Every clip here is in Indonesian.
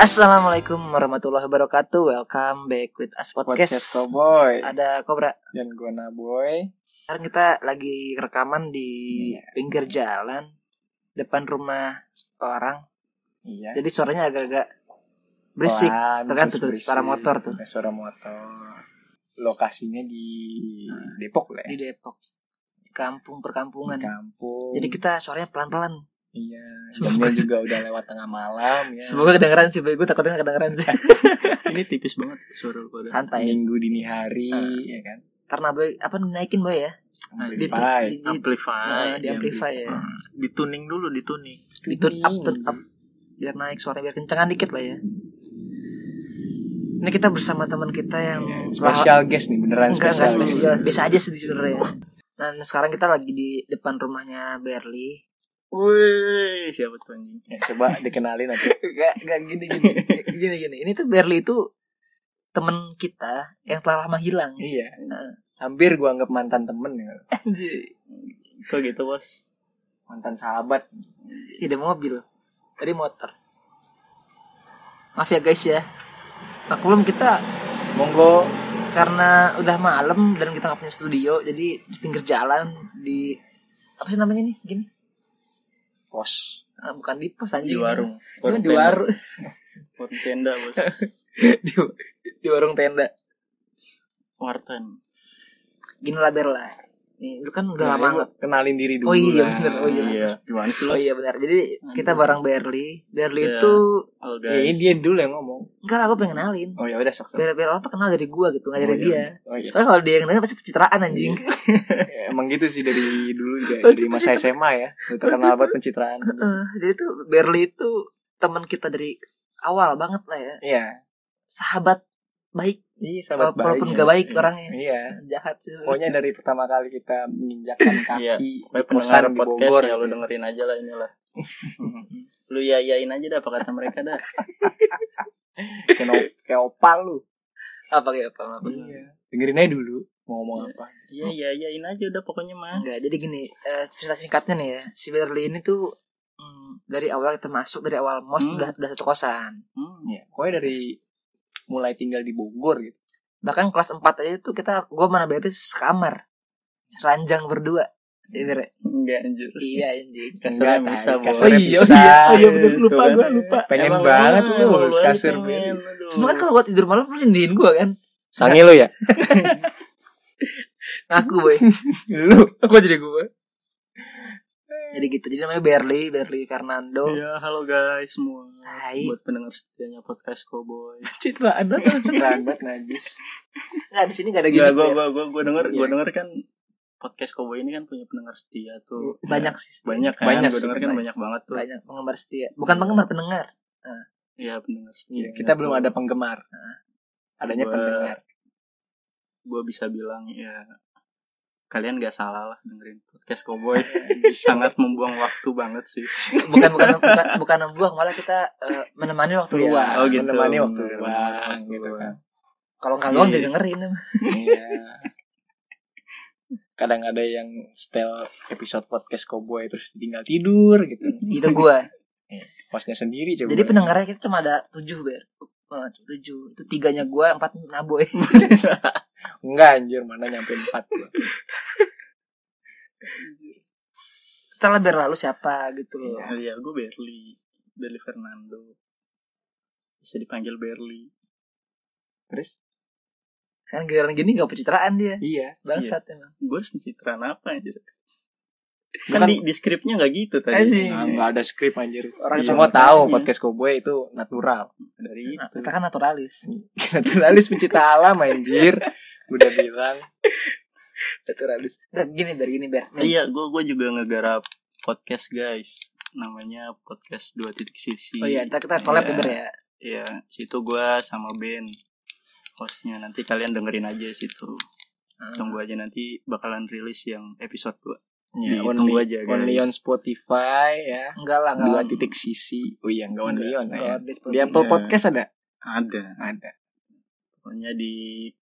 Assalamualaikum warahmatullahi wabarakatuh. Welcome back with Us Podcast. Podcast Cowboy Ada Kobra. dan gue Naboy. Sekarang kita lagi rekaman di Iya. pinggir jalan depan rumah orang. Iya. Jadi suaranya agak-agak berisik. Pelan, Tuh kan terus tuh, tuh, berisik. suara motor tuh. Ada Suara motor. Lokasinya di Depok lah Nah. di ya. Depok. Kampung perkampungan. Di kampung. Jadi kita suaranya pelan-pelan. iya. Jamnya juga udah lewat tengah malam ya. Semoga kedengeran sih, gue takutnya nggak kedengeran sih. Iya. Ini tipis banget suara lu pada. Santai. Minggu dini hari, Ah. ya kan. Karena boy apa naikin boy ya? Di, di, Amplify. di- Amplify. Nah, di amplify ya. Hmm. Dituning dulu, dituning. di tune up, tune up. biar naik suaranya biar kencengan dikit lah ya. Ini kita bersama teman kita yang Iya, Special guest nih Nah. beneran enggak enggak special spesial, guest. biasa aja sih sebenarnya. Nah, sekarang kita lagi di depan rumahnya Berli. Wih, siapa tuh anjing? Ya, coba dikenalin nanti. Enggak enggak gini gini. gini gini. Ini tuh Berli itu teman kita yang telah lama hilang. iya. Ah. Hampir gua anggap mantan temen ya. Kok gitu, Bos? Mantan sahabat. Tidak mobil. Tadi motor. Maaf ya guys ya. Maklum kita Monggo karena udah malam dan kita nggak punya studio jadi di pinggir jalan di apa sih namanya nih gini pos. Ah, bukan di pos aja Di warung. Warung di tenda. warung Warung tenda, Bos. di, di warung tenda Warten. gini lah Ber lah nih lu kan udah Nah, lama yuk, nggak- kenalin diri dulu. Oh iya, lah. bener. Oh iya. Gimana sih, oh Bos? iya benar jadi kita Aduh. bareng Berli Berli Iya. itu Halo, Ya, ini guys. dia dulu yang ngomong. enggak lah gue pengen kenalin Oh ya udah sok sok. biar biar orang tuh kenal dari gue gitu nggak Oh, dari iya. dia Oh iya. soalnya kalau dia yang kenalin pasti pencitraan anjing Ya, Emang gitu sih dari dulu Oh, juga dari masa iya. SMA ya. Udah terkenal banget pencitraan. Uh-uh. Eh, jadi tuh Berli itu teman kita dari awal banget lah ya Iya. sahabat baik Iya sahabat baik. walaupun nggak baik orangnya Iya. jahat sih Pokoknya dari pertama kali kita menginjakkan Iya. kaki Pokoknya pendengar kosan di podcast Bogor. ya lu gitu. dengerin aja lah inilah. lu yayain aja dah apa kata mereka dah. Kayak op- kayak opal lu. apa kayak Ah, apa apa Iya. Dengerin aja dulu mau ngomong apa. Iya, yayain aja udah pokoknya mah. enggak jadi gini eh, cerita singkatnya nih ya si Berli ini tuh mm, dari awal kita masuk dari awal mos Hmm. udah udah satu kosan Hmm. Iya. Pokoknya dari mulai tinggal di Bogor gitu. bahkan kelas 4 aja tuh kita gua mana Berli sekamar seranjang berdua Iya, Ber. Enggak anjir. iya anjing Kasarnya Enggak, bisa, tai. Bos. Kasarnya Oh iya, bisa. oh iya, bener, Gitu lupa, kan. gua lupa. Pengen Emang banget lu, lu emang lu kasur aja Beri. pengen, aduh. Cuma kan kalau gua tidur malam lu nyindihin gua kan Sangi lu ya? Ngaku boy Lu. Gua jadi gua Jadi gitu Jadi namanya Berli Berli Fernando Gitu. Iya, halo guys semua. Hai. Buat pendengar setianya podcast Cowboy. Citraan Enggak Terang banget najis. di sini gak ada ya. gini Gila, Iya, gua gua gua gua denger gua ya? Iya. denger kan podcast Cowboy ini kan punya pendengar setia tuh. Banyak sih Banyak kan? Iya. Banyak gua sih, denger kan banyak. banyak banget tuh. Banyak penggemar setia Bukan penggemar pendengar Iya, pendengar setia. Iya, kita belum ada penggemar. Nah, Adanya Gua- pendengar. Gua bisa bilang ya kalian gak salah lah dengerin podcast Cowboy. Sangat membuang waktu banget sih. bukan bukan bukan, bukan membuang malah kita eh, menemani waktu Iya, luang Oh, gitu. Menemani waktu Bener, luang waktu gitu kan. kalau nggak Iya, luang iya. jadi dengerin emang. Iya. Kadang ada yang setel episode podcast Cowboy terus tinggal tidur gitu. itu gue Posnya sendiri coba. jadi pendengarnya kita cuma ada tujuh ber Eh, tujuh itu tiganya gue empat naboy enggak anjir mana nyampe 4 gua. setelah berlalu siapa gitu loh Oh Iya, gue Berli. Berli Fernando. Bisa dipanggil Berli. Terus? kan giliran gini gak pencitraan dia Iya. bangsat emang Gue harus pencitraan apa anjir? Bukan- Kan di, di skripnya nggak gitu tadi. Anjing. Nah, enggak ada skrip anjir. Orang Iya, semua makanya. tahu podcast Cowboy itu natural. Dari Nah, itu. kita kan naturalis Hmm, Naturalis pencinta alam anjir. Udah bilang naturalis Nggak, gini ber gini ber Nih, Iya, gue gue juga ngegarap podcast guys. Namanya podcast dua titik sisi. oh iya ntar kita collab ya Iya. ber ya Iya, situ gue sama Ben hostnya nanti kalian dengerin aja situ Hmm. tunggu aja nanti bakalan rilis yang episode 2 Ya, Ditunggu only, aja, guys. only on Spotify ya. enggak lah enggak Dua lah. titik sisi. Oh iya, enggak only on Enggak, ya. di Di Spotify. Apple Iya. Podcast ada? ada Ada. pokoknya di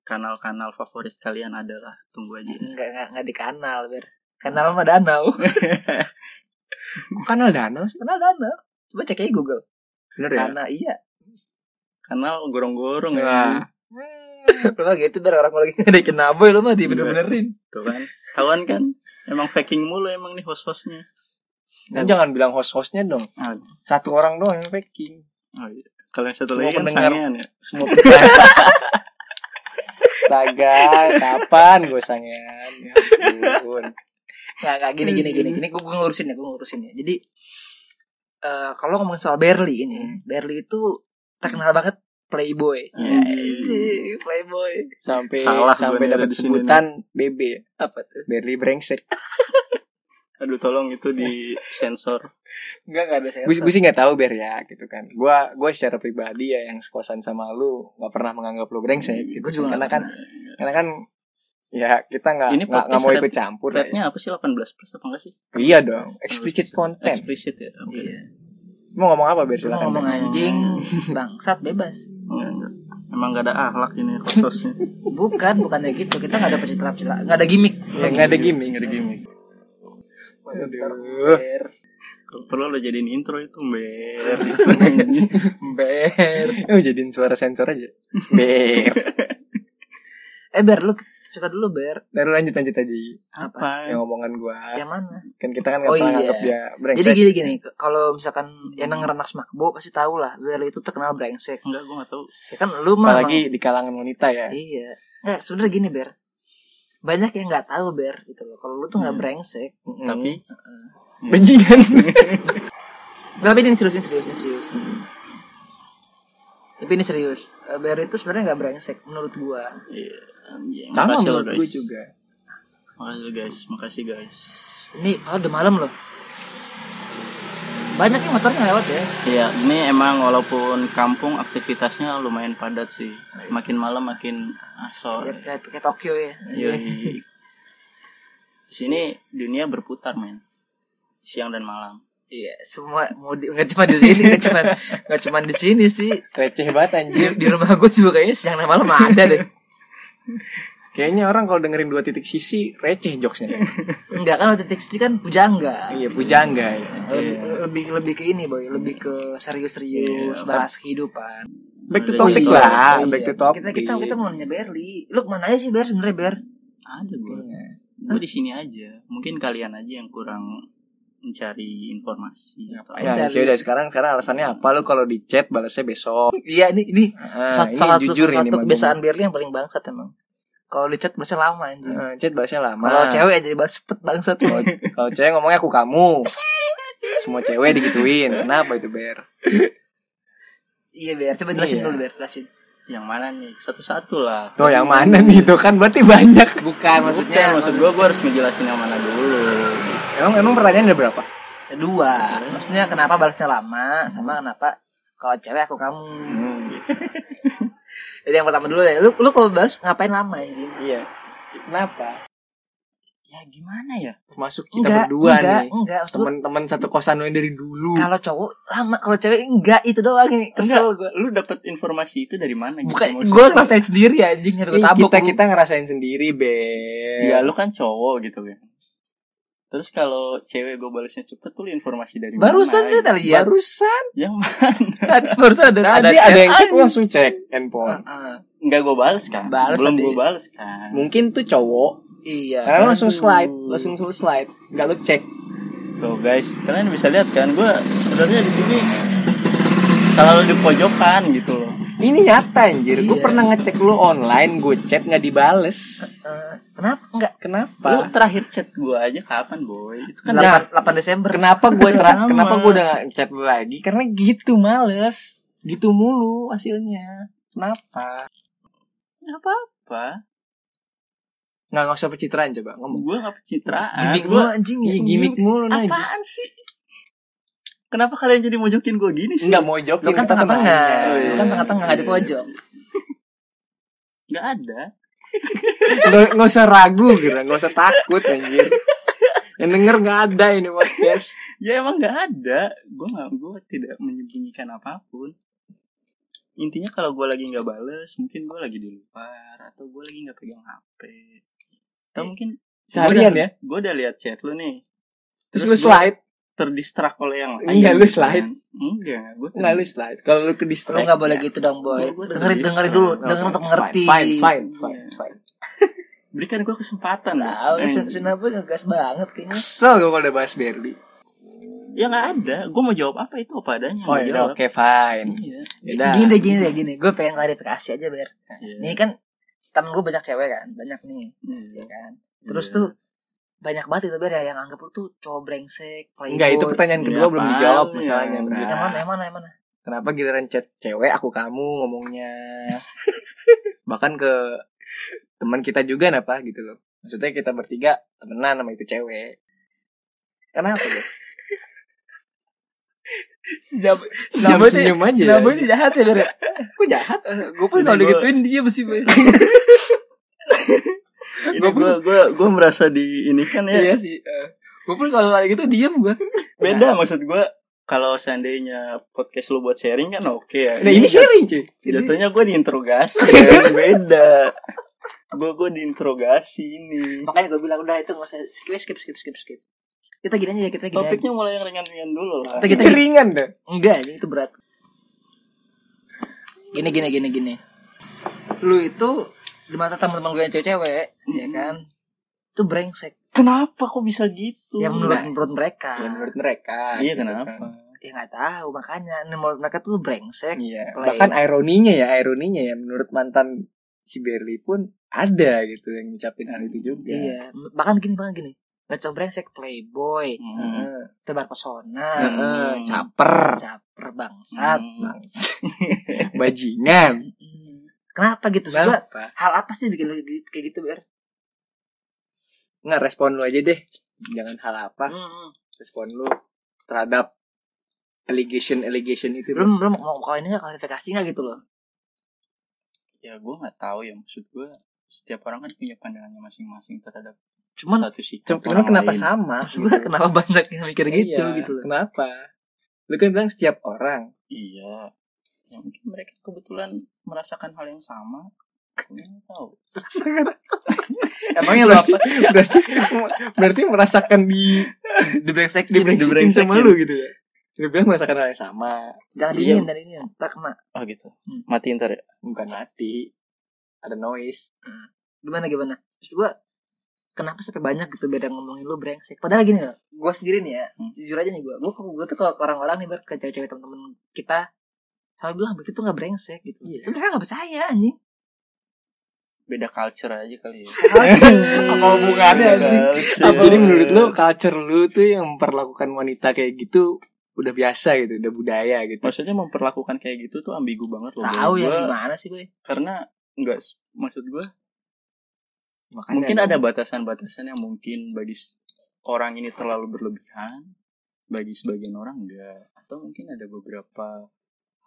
kanal-kanal favorit kalian adalah tunggu aja enggak enggak enggak di kanal ber kanal mah danau Kok kanal Danau sih? kenal danau coba cek aja Google Bener ya? karena iya Kanal gorong-gorong Nah, ya. lu mah gitu dari orang lagi ngedekin naboy lu mah dibener-benerin Tuh kan. Kawan kan. Emang faking mulu emang nih host-hostnya. lu jangan bilang host-hostnya dong. Ah, Satu orang doang yang packing. oh iya. Kalau yang satu Semua lagi kan pendengar. sangean ya. Semua pendengar. Astaga, kapan gue sangean? Ya ampun. nggak nggak gini gini gini gini gue ngurusin ya gue ngurusin ya jadi eh kalau ngomongin soal Berli ini Berli itu terkenal banget playboy Ya, Hmm. Anjing, playboy Sampai Salah gua sampai nih dapat ada di sini sebutan BB, apa tuh Berli brengsek. Aduh tolong itu di sensor. Enggak, enggak ada Gue gue sih nggak tahu Ber ya, gitu kan. Gue gue secara pribadi ya yang sekosan sama lu nggak pernah menganggap lu brengsek. Gitu. Gua juga karena nggak kan karena kan ya kita nggak Ini nggak nggak podcast mau red- ikut campur lah ya. Rate-nya apa sih 18 plus apa enggak sih? Iya dong, explicit content. Explicit ya. Oke. Iya. Mau ngomong apa Ber Lu silakan. ngomong Ber. anjing bangsat bebas Enggak, enggak. Emang gak ada ahlak ini host-hostnya. bukan bukan kayak gitu kita nggak ada pencitraan pencitraan nggak ada gimmick Ya, nggak gitu. ada gimmick, nggak ada gimmick. Aduh. Ber Kalau perlu lo jadiin intro itu, Ber. ber Eh, jadiin suara sensor aja. Ber. eh ber lu cerita dulu ber Lalu lanjut lanjut aja. Apa? Apa? Yang omongan gua yang mana kan kita kan Iya. nggak Oh, pernah iya. nganggap dia brengsek. gitu ya. jadi gini gini ke- kalau misalkan yang denger anak semakbo pasti tahu lah Berli itu terkenal brengsek Enggak, gue gak tahu. ya kan lu mah Apalagi di kalangan wanita ya. emang- iya nggak sebenarnya gini ber banyak yang nggak tahu ber gitu loh kalau lu tuh nggak Hmm. brengsek Mm. Tapi benci kan? tapi ini serius ini serius ini serius tapi ini serius Eh, Ber itu sebenarnya nggak brengsek menurut gua Iya, anjing. Sama Makasih lo, menurut guys. gue juga. Makasih lo, guys. Makasih, guys. ini oh, udah malam loh banyak yang motornya lewat ya Iya, ini emang walaupun kampung aktivitasnya lumayan padat sih. Makin malam makin asor. Ya, Iya. kayak, kayak Tokyo ya. Yoi. Di sini dunia berputar, men. Siang dan malam. Iya, semua mau di, nggak cuma di sini, nggak cuma nggak cuma di sini sih. Receh banget Di, anjir. di rumah gue juga kayaknya siang dan malam ada deh. Kayaknya orang kalau dengerin dua titik sisi receh jokesnya. Enggak kan waktu teks itu kan pujangga. iya, pujangga ya. Lebih, lebih lebih ke ini boy, lebih ke serius-serius Iya, bahas kehidupan. Back to Iya. topic Iya, lah, iya. back to topic. Kita kita kita mau nanya Berli. Lu kemana aja sih Ber sebenarnya Ber? Ada gue. Iya. Gue di sini aja. Mungkin kalian aja yang kurang mencari informasi. Iya, atau Ya, ya udah sekarang sekarang alasannya apa lu kalau di chat balasnya besok. Iya ini ini Ah, satu, ini salah satu, jujur salah ini satu Mang. kebiasaan Berli yang paling bangsat emang. Kalau di chat bahasa lama anjing. Ah, Oh. chat balasnya lama. Kalau cewek jadi bahas cepet bangsat. Kalau- kalau cewek ngomongnya aku kamu. Semua cewek digituin. Kenapa itu, Ber? Iya Ber, coba jelasin Iya. dulu Ber, jelasin. Yang mana nih? Satu-satu lah. Oh, Tuh yang mana nih? Tuh kan berarti banyak. Bukan maksudnya Bukan, maksud gue gue harus ngejelasin yang mana dulu. Emang emang pertanyaan ada berapa? Kedua, maksudnya kenapa balasnya lama sama kenapa kalau cewek aku kamu. Hmm, Jadi yang pertama dulu ya, lu lu kalau balas ngapain lama anjing? Iya. Kenapa? Ya gimana ya? Masuk kita berdua enggak, nih. enggak. Maksud gua, Teman-teman satu kosan lu yang dari dulu. kalau cowok lama, kalau cewek enggak itu doang nih. Kesel Enggak, lu dapat informasi itu dari mana? gitu Bukan, maksudnya? gue ngerasain sendiri anjing nyari Ih, gue tabok. kita Iya, kita ngerasain sendiri, Ber. Ya lu kan cowok gitu kan. Terus kalau cewek gue balasnya cepet tuh lu informasi dari barusan mana? kita lihat, Barusan Yang mana? Tadi- barusan ada ada. Ah, tadi Iya. ada Ah. yang cek lu langsung cek handphone. Heeh. Enggak gue balas kan? Balas Belum tadi. gue balas kan? Mungkin tuh cowok, Iya. karena lu langsung Aduh. slide, langsung suruh slide, nggak lu cek. Tuh guys, kalian bisa lihat kan gue sebenarnya di sini selalu di pojokan gitu loh. Ini nyata anjir, gue Iya. pernah ngecek lu online, gue chat nggak dibales. Eh, kenapa enggak? Lu Kenapa? terakhir chat gue aja kapan boy? Itu kan Nah. 8, 8 Desember. Kenapa gue Lama. kenapa gue udah gak chat lu lagi? Karena gitu males, gitu mulu hasilnya. Kenapa? apa apa? Nggak nggak usah pencitraan coba ngomong. Gue gak pencitraan. Gimik Gua- mulu anjing ya. Iya gimmick mulu najis. Apaan sih? Kenapa kalian jadi mojokin gue gini sih? Enggak mau jawab Lu kan tengah-tengah. Lu kan Iya. tengah-tengah nggak di pojok. Nggak ada. Nggak nggak usah ragu gitu, nggak usah takut anjir. Yang denger nggak ada ini podcast. Ya emang nggak ada. Gue nggak, gue tidak menyembunyikan apapun. Intinya kalau gue lagi nggak bales, mungkin gue lagi di luar atau gue lagi nggak pegang HP. Atau mungkin Seharian ya. Gue udah lihat chat lu nih. Terus lu gua- slide. terdistrak oleh yang lain. Enggak, lu slide. Enggak, kan gue Nggak lu slide. Kalau lu ke Lu distract. nggak boleh gitu dong boy. Iya, Gua- gua Dengerin terbiasa. dengerin dulu, Oke, dengerin untuk mengerti. Fine, fine, fine, fine. Berikan gue kesempatan. Nah, Eh, Sinabu ngegas banget kayaknya. Kesel gue kalau udah bahas Berli. Ya nggak ada. Gue mau jawab apa itu apa adanya. Oh mau ya jawab. oke fine. Iya. Yaudah. Gini deh, gini deh, gini. Gue pengen klarifikasi aja ber. Iya. Ini kan temen gue banyak cewek kan, banyak nih, Hmm. ya Iya. kan. Terus Iya. tuh banyak banget itu ber ya yang anggap lu tuh cowok brengsek, playboy. Enggak itu pertanyaan Iya, kedua belum apaan dijawab ya? masalahnya. Bra. Yang mana, yang mana, yang mana? Kenapa giliran chat cewek aku kamu ngomongnya. Bahkan ke teman kita juga napa gitu loh. Maksudnya kita bertiga temenan sama itu cewek. Kenapa ya? Iya, Senyum, Sinabu senyum aja. Sinabu ini jahat ya ber. Kok jahat? Gue pun kalau digituin dia mesti ber. Ini gue gue gue merasa di ini kan Iya. ya. sih. Gue pun kalau kayak gitu diem gue. Beda maksud gue. Kalau seandainya podcast lu buat sharing kan oke ya. Nah ini sharing cuy. Jatuhnya gue diinterogasi. kan. Beda. Gue gue diinterogasi ini. Makanya gue bilang udah itu nggak usah skip skip skip skip skip. Kita gini aja, ya, kita gini aja. Topiknya mulai yang ringan-ringan dulu lah. Kita- Itu ringan deh. Enggak, anjing, itu berat. Gini gini gini gini. Lu itu di mata teman-teman gue yang cewek-cewek, ya kan? Itu brengsek. Kenapa kok bisa gitu? Yang Ya, menurut menurut mereka. Ya menurut mereka. Iya gitu kan. kenapa? Ya nggak tahu makanya menurut mereka tuh brengsek. Iya. Lain. Bahkan ironinya ya, ironinya ya menurut mantan si Berli pun ada gitu yang ngucapin hal itu juga. Iya. Bahkan gini bahkan gini. Gak cuma brengsek, playboy, Hmm. Heeh. tebar pesona, Heeh, Caper, caper bangsat. Hmm. bajingan. Mm. Kenapa gitu? Sudah Kenapa? hal apa sih bikin lu gitu- kayak gitu, Ber? Nggak respon lu aja deh. Jangan hal apa. Mm. Respon lu terhadap allegation allegation itu. Lu lu mau mau kalau ini nggak klarifikasi nggak gitu loh? Ya gue nggak tahu ya maksud gue setiap orang kan punya pandangannya masing-masing terhadap Cuman satu sikap. Cuman orang kenapa lain. sama? gitu? Maksud gue kenapa banyak yang mikir gitu Iya, gitu loh. Kenapa? Lu kan bilang setiap orang. Iya. Ya mungkin mereka kebetulan merasakan hal yang sama. Gue nggak tahu. Emangnya lu apa? Berarti berarti merasakan di Di brengsek di brengsek Dibrengsek sama ya. lu gitu ya lu bilang merasakan hal yang sama Jangan Iya. dingin dan ini tak kena. Oh gitu. Hmm. Mati ntar ya. bukan mati ada noise Gimana gimana? Terus gue kenapa sampai banyak gitu beda ngomongin lu brengsek. Padahal gini loh, gue sendiri nih ya, Hmm. jujur aja nih gue. Gue gue tuh kalau ke orang-orang nih Bar, ke cewek-cewek temen-temen kita sama bilang begitu nggak brengsek gitu. Iya. Sebenarnya nggak percaya anjing. Beda culture aja kali ya. apa hubungannya Beda anjing culture. apa jadi menurut lu culture lu tuh yang memperlakukan wanita kayak gitu udah biasa gitu udah budaya gitu Maksudnya memperlakukan kayak gitu tuh ambigu banget loh. Tahu Gua- ya, yang gimana sih boy? Karena nggak s- maksud gue Makanya mungkin ada batasan-batasan yang mungkin bagi s- orang ini terlalu berlebihan bagi sebagian orang enggak atau mungkin ada beberapa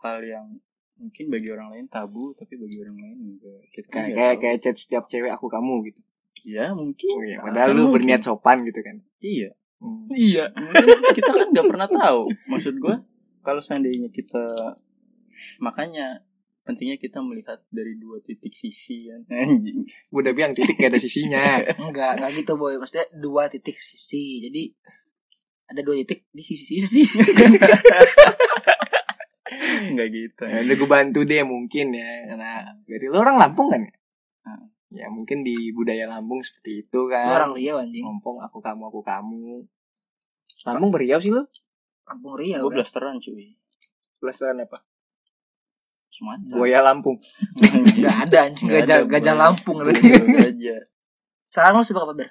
hal yang mungkin bagi orang lain tabu tapi bagi orang lain enggak kita kan kayak nggak kayak tahu. kayak chat setiap cewek aku kamu gitu ya mungkin oh, iya. Nah, padahal kan lu mungkin. berniat sopan gitu kan iya Hmm. iya mungkin kita kan nggak pernah tahu maksud gue kalau seandainya kita makanya pentingnya kita melihat dari dua titik sisi kan anjing Gua udah bilang titik gak ada sisinya Enggak, enggak gitu boy. Maksudnya dua titik sisi. Jadi ada dua titik di sisi-sisi. nggak gitu ya, udah gue bantu deh mungkin ya karena dari lu orang Lampung kan ya Hmm. ya mungkin di budaya Lampung seperti itu kan orang Riau anjing. Ngompong aku kamu aku kamu. Lampung beriau sih lu? Kampung Riau. gue Kan? blasteran cuy Belasan apa? Sumatera Buaya Lampung. Anjing. Enggak ada anjing Nggak gajah ada, gajah Boy. Lampung lu. aja Sekarang lu suka apa ber?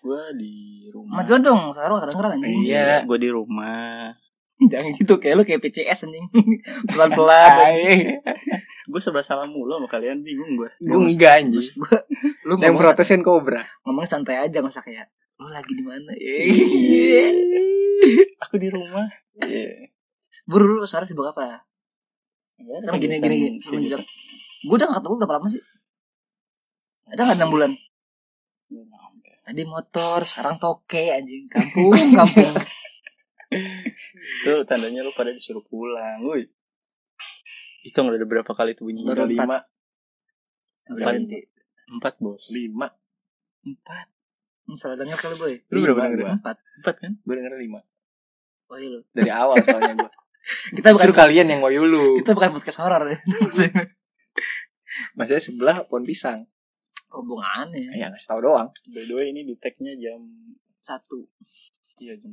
gue di rumah Majuan dong, sekarang gak kedengeran anjing. Iya. gue di rumah Jangan gitu kayak lu kayak PCS anjing. Pelan-pelan. gue sebelah salam mulu sama kalian bingung gue Gue enggak anjing. Maksud gua, lu Yang ngomong, protesin kobra. ngomong santai aja enggak usah kayak lu lagi di mana? Iya. Iya. aku di rumah Iya. Buru lu sekarang sibuk apa? Ya, Karena gini kegiatan gini kegiatan. semenjak gua udah gak ketemu berapa lama sih? Ada nggak enam bulan? Tadi motor, sekarang toke anjing kampung, kampung. itu tandanya lu pada disuruh pulang woi itu udah ada berapa kali tuh bunyinya Baru Ada empat. lima Berhenti. empat bos Lima. empat Hmm, Salah dengar kali boy. Lu berapa Lima, dengerin? Empat. Empat kan? Gue denger lima Oh iya lu. Dari awal soalnya gue Kita bukan Justru kalian yang ngoyu lu kita bukan podcast horor ya. Maksudnya sebelah pohon pisang Hubungannya Ya ngasih tau doang By the way ini di tag-nya jam satu. iya jam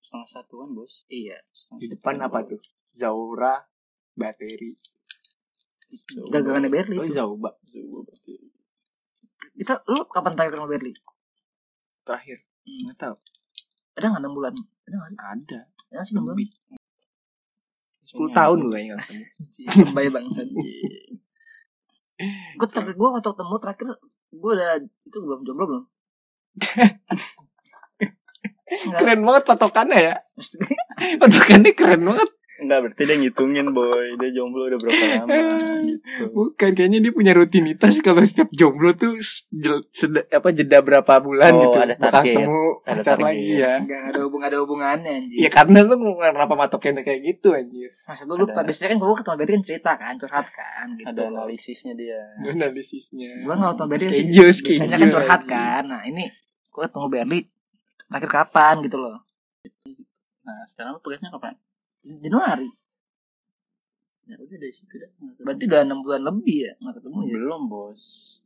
setengah satuan bos. Iya. Di depan apa tuh? Zaura Bateri Dagangannya Berli. Oh Zauba Zubo berarti. Kita lu kapan terakhir sama Berli? Terakhir Hmm, Nggak tau Ada nggak enam bulan? Ada nggak sih? Ada Ada nggak sih enam bulan? Lebih Iya. 10 tahun gue kayaknya nggak ketemu Bayi bangsa. Gue terakhir gue waktu ketemu terakhir gue udah itu belum jomblo belum? Enggak. Keren banget patokannya ya Mesti Patokannya keren banget Enggak berarti dia ngitungin boy Dia jomblo udah berapa lama gitu Bukan kayaknya dia punya rutinitas kalau setiap jomblo tuh s- jel- seda- apa jeda berapa bulan Oh, gitu. ada Bakal target. ketemu Ada pacar target. Iya. lagi ya. nggak nggak ada hubung nggak ada hubungannya anjir. Ya karena lu kenapa patokannya kayak gitu Iya. anjir. Maksud lu, lu Ada- biasanya kan gue ketemu Berli kan cerita kan curhat kan gitu. Ada analisisnya dia Gue analisisnya. Gue kalau ketemu Berli sih Schedule, biasanya schedule kan curhat lagi. kan. Nah ini gue ketemu Berli terakhir kapan gitu loh? Nah sekarang lu tugasnya kapan? Januari. Ya udah dari situ dah Berarti udah enam bulan lebih ya nggak ketemu ya. Belum bos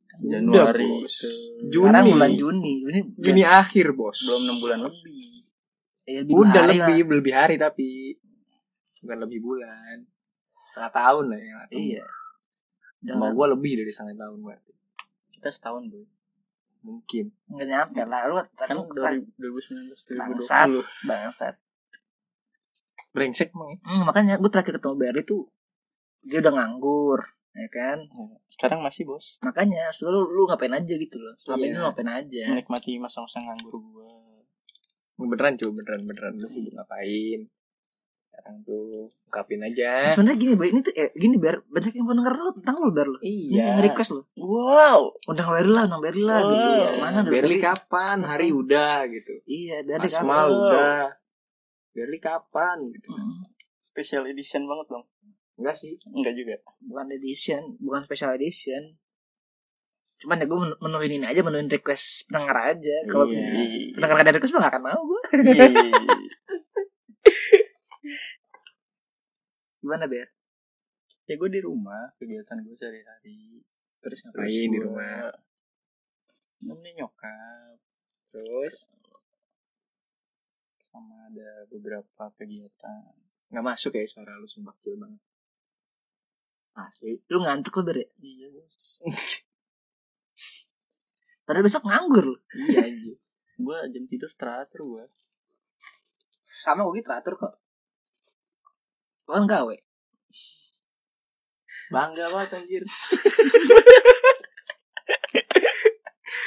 Kan Udah, Januari bos. ke Juni. Sekarang bulan Juni. Juni, Juni akhir, Bos. Belum 6 bulan lebih ya, lebih Udah bahaya. lebih, lebih hari tapi bukan lebih bulan. Setengah tahun lah ya. Iya. Udah Sama gue lebih dari setengah tahun berarti. Kita setahun boy Mungkin. nggak nyampe lah lu Kan kan dari 2019 Bangsat. 2020 bangsat. Brengsek emang ya. Hmm, makanya gue terakhir ketemu Berli tuh dia udah nganggur ya kan Sekarang masih bos makanya selalu lu ngapain aja gitu loh selama Iya. ini lu ngapain aja Menikmati masa-masa nganggur gua Beneran coba beneran beneran lu sibuk ngapain? Sekarang tuh ungkapin Terus aja. sebenarnya gini boy ini tuh eh, gini biar banyak yang mau denger lu tentang lu ber lu Iya. request lu Wow undang Berli lah undang Berli lah Oh, gitu iya. mana dari Berli tadi? kapan? Hari udah gitu. iya Berli kapan Asmal kapan? udah. Berli kapan gitu. Hmm, Special edition banget dong Enggak sih. Enggak juga bukan edition bukan special edition cuman ya gue menuhin ini aja menuhin request pendengar aja kalau Iya. pendengar gak ada request mah gak akan mau gue Yeay. gimana ber ya gue di rumah kegiatan gue sehari-hari Terus Terus ngapain di gua rumah? nemenin nyokap Terus sama ada beberapa kegiatan nggak masuk ya suara lu sumpah kecil banget. Asli. lu ngantuk lu ber ya? iya bos padahal besok nganggur lu Iya anjir. gue jam tidur teratur gue sama gue gitu teratur kok Lu kan gawe Bangga banget anjir.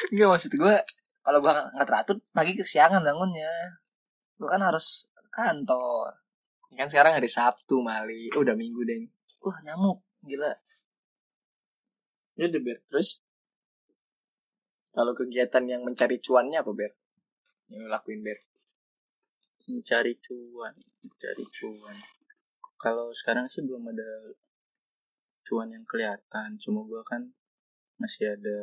Enggak maksud gue kalau gue nggak teratur pagi kesiangan bangunnya gue kan harus ke kantor kan sekarang hari Sabtu Mali. Oh, udah Minggu deng. wah nyamuk gila Ya udah Ber. Terus kalau kegiatan yang mencari cuannya apa Ber? Yang lu lakuin Ber. mencari cuan mencari cuan kalau sekarang sih belum ada cuan yang kelihatan cuma gue kan masih ada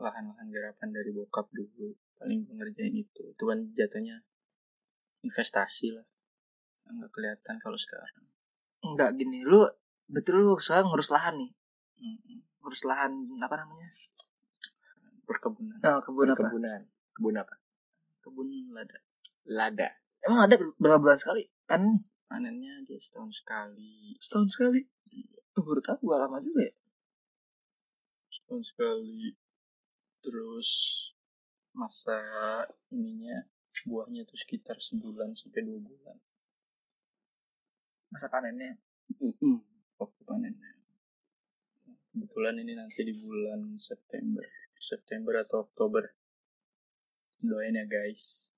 lahan-lahan garapan dari bokap dulu paling gue ngerjain itu itu kan jatuhnya investasi lah nggak kelihatan kalau sekarang nggak gini lu betul lu sekarang ngurus lahan nih Mm-mm. ngurus lahan apa namanya perkebunan nah, kebun apa Kebunan. Kebun apa? kebun lada Lada. emang ada ber- berapa bulan sekali kan panennya dia setahun sekali setahun sekali Lu baru tahu gue lama juga ya setahun sekali terus masa ininya buahnya tuh sekitar sebulan sampai dua bulan masa panennya waktu panennya kebetulan ini nanti di bulan September September atau Oktober doain ya guys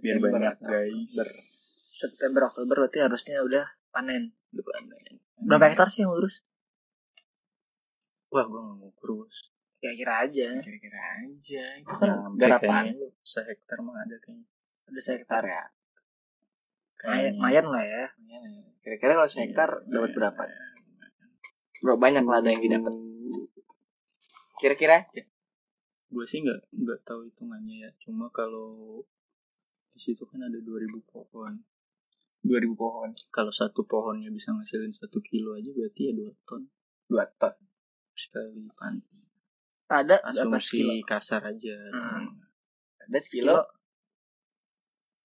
biar September banyak atau guys Oktober. September Oktober berarti harusnya udah panen Udah panen. berapa hektar sih yang ngurus Hmm. wah gue nggak ngukur bos kira-kira aja Kira-kira aja. Itu Nah, kan garapan. kayaknya sehektar mah ada kayaknya ada sehektar ya Kayaknya. Iya, May- mayan lah ya Kira-kira kalau sehektar dapat berapa? Nah, Bro, banyak lada yang didapat. Kira-kira aja. gue sih nggak nggak tahu hitungannya ya cuma kalau di situ kan ada 2000 pohon 2000 pohon kalau satu pohonnya bisa ngasilin satu kilo aja berarti ya dua ton 2 ton sekali panti ada dapat kilo asumsi kasar aja Hmm. ada kilo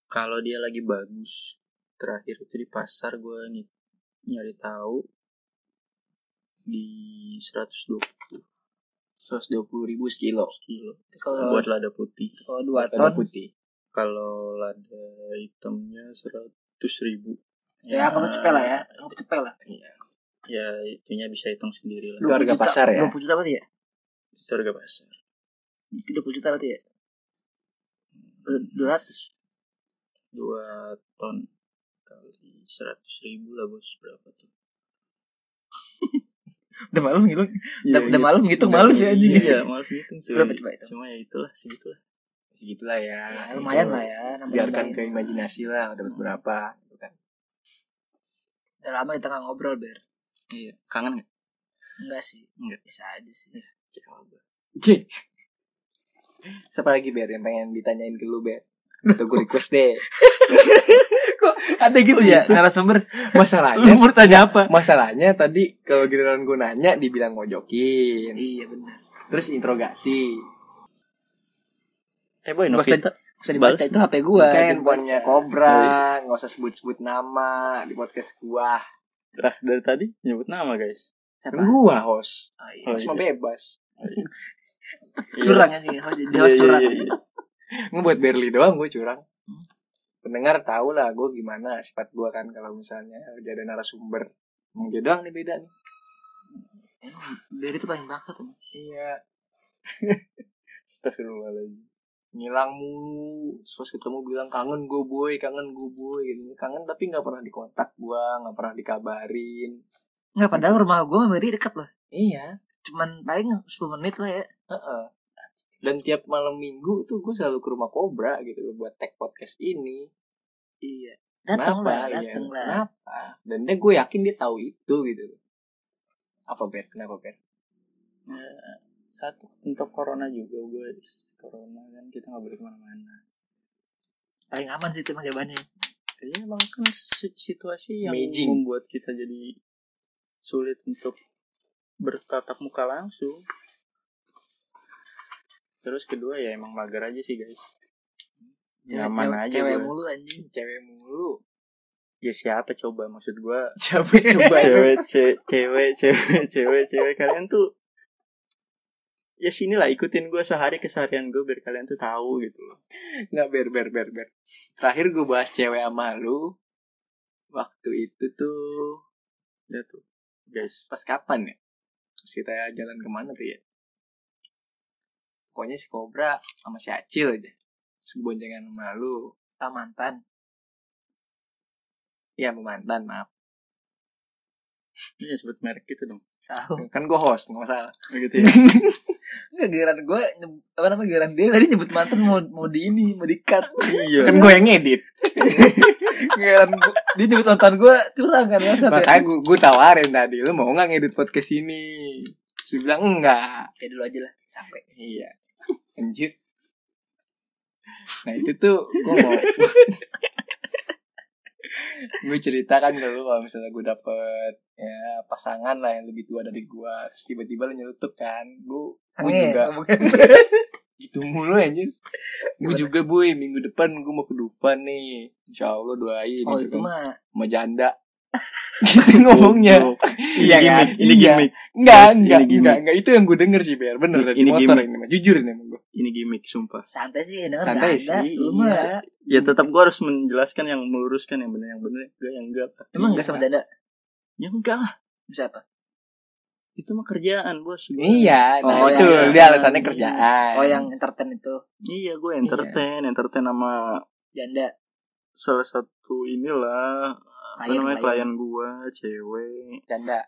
kalau dia lagi bagus terakhir itu di pasar gue ny- nyari tahu di 120 120 ribu sekilo kilo kalau buat lada putih kalau dua Warna ton putih kalau lada hitamnya 100 ribu ya kamu cepel lah ya kamu cepel lah ya itunya bisa hitung sendiri lah Itu harga pasar ya? dua puluh juta berarti ya itu harga pasar dua puluh juta berarti ya dua ratus dua ton kali seratus ribu lah bos berapa tuh udah malam ngilu udah, udah malam gitu malu sih anjing iya males ngitung cuy Berapa coba itu? cuma ya itulah segitulah segitulah ya, Ya, lumayan lah ya nambahin biarkan lain. ke imajinasi lah dapat berapa gitu kan udah lama kita nggak ngobrol ber iya kangen nggak enggak sih Enggak. biasa aja sih Coba. siapa lagi Ber yang pengen ditanyain ke lu Ber atau gue request deh ada gitu ya narasumber masalahnya mau tanya apa masalahnya tadi kalau giliran gue nanya dibilang mojokin iya benar terus interogasi coba Nggak usah- Novita bisa dibaca Balas. itu hp gua Bukan jadi handphonenya baca. Cobra Iya. nggak usah sebut-sebut nama di podcast gua lah dari tadi nyebut nama guys Siapa? Kan gua host Oh, iya. Oh, host mah iya. bebas Iya. curang ya, anjing harus jadi Iya, harus iya, curang iya, iya. ngebuat Berli doang gue curang pendengar tau lah gue gimana sifat gua kan kalau misalnya udah ada narasumber Emang dia doang nih beda nih Emang Barry tuh paling bangsat emang. iya Astagfirullahaladzim ngilang mulu terus ketemu bilang kangen gue boy kangen gue boy gitu kangen tapi nggak pernah dikontak gua nggak pernah dikabarin Enggak padahal rumah gua sama Barry deket loh iya cuman paling 10 menit lah ya heeh. dan tiap malam minggu tuh gue selalu ke rumah Cobra gitu loh, buat tag podcast ini iya datang lah Kenapa? Iya, datang lah kenapa dan dia gue yakin dia tahu itu gitu apa bet kenapa bet satu untuk corona juga guys corona kan kita nggak boleh kemana-mana paling aman sih itu emang jawabannya Iya emang kan si- situasi yang Amazing. membuat kita jadi sulit untuk bertatap muka langsung. Terus kedua ya emang mager aja sih guys. Nyaman Cewek- aja cewek gua. mulu anjing cewek mulu Ya siapa coba maksud gua cewek coba ya? cewek ce- cewek cewek cewek cewek kalian tuh ya sinilah ikutin gua sehari keseharian gue biar kalian tuh tahu gitu loh. nggak ber ber ber ber terakhir gue bahas cewek sama lu waktu itu tuh Ya tuh guys. pas kapan ya Terus kita jalan kemana tuh ya pokoknya si Cobra sama si Acil aja terus gue boncengan sama lu Ah, sama mantan ya sama mantan maaf Ini sebut merek gitu dong. tahu kan gue host nggak masalah Begitu ya. nggak giliran gue nyeb- apa namanya giliran dia tadi nyebut mantan mau mau di ini mau di cut iya. kan gue yang ngedit giliran gua, dia nyebut mantan gue curang kan ya makanya gue gue tawarin tadi lu mau nggak ngedit podcast ini terus dia bilang enggak ya dulu aja lah capek Iya. Anjir. Nah itu tuh gue mau gue ceritakan ke lu kalau misalnya gue dapet ya pasangan lah yang lebih tua dari gue Terus tiba-tiba lu nyelutup kan gue gue Sange, juga bukan. gitu mulu anjir gue Gimana? juga boy minggu depan gue mau ke Dufan nih insya Allah doain oh itu gitu kan. mah mau janda gitu ngomongnya Goblok. iya kan Ini gimmick, ini Iya. gimmick. enggak Terus ini enggak gimmick. enggak enggak itu yang gue denger sih biar bener Ini- dari ini motor gimmick. ini mah jujur ini emang gue Ini gimmick sumpah. santai sih denger Santai nggak ada sih, lu iya. mah ya tetap gue harus menjelaskan yang meluruskan yang benar yang benar enggak yang enggak emang Iya. nggak sama janda ya enggak lah bisa apa itu mah kerjaan bos Gua- Iya, nah Oh, itu iya, iya. dia alasannya kerjaan. oh yang entertain itu iya gue entertain entertain sama janda salah satu inilah apa Klien, namanya klien. klien gue cewek janda.